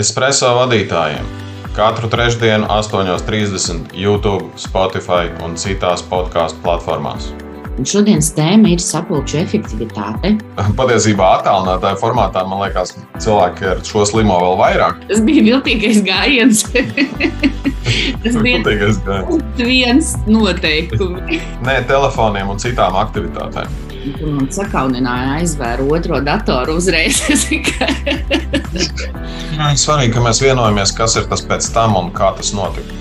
Espreso vadītājiem katru trešdienu, 8.30 YouTube, Spotify un citās podkāstu platformās. Un šodienas tēma ir sapulču efektivitāte. Patiesībā, attēlinātāju formātā, man liekas, cilvēki ar šo slimo vēl vairāk. Tas bija viltīgais gājiens. Tas bija Jūtīgais gan. viens noteikums. Nē, telefoniem un citām aktivitātēm. Tur man sakaunināja, aizvēra otro datoru uzreiz. Es tikai- Jā, ir Svarīgi, ka mēs vienojamies, kas ir tas pēc tam un kā tas notika.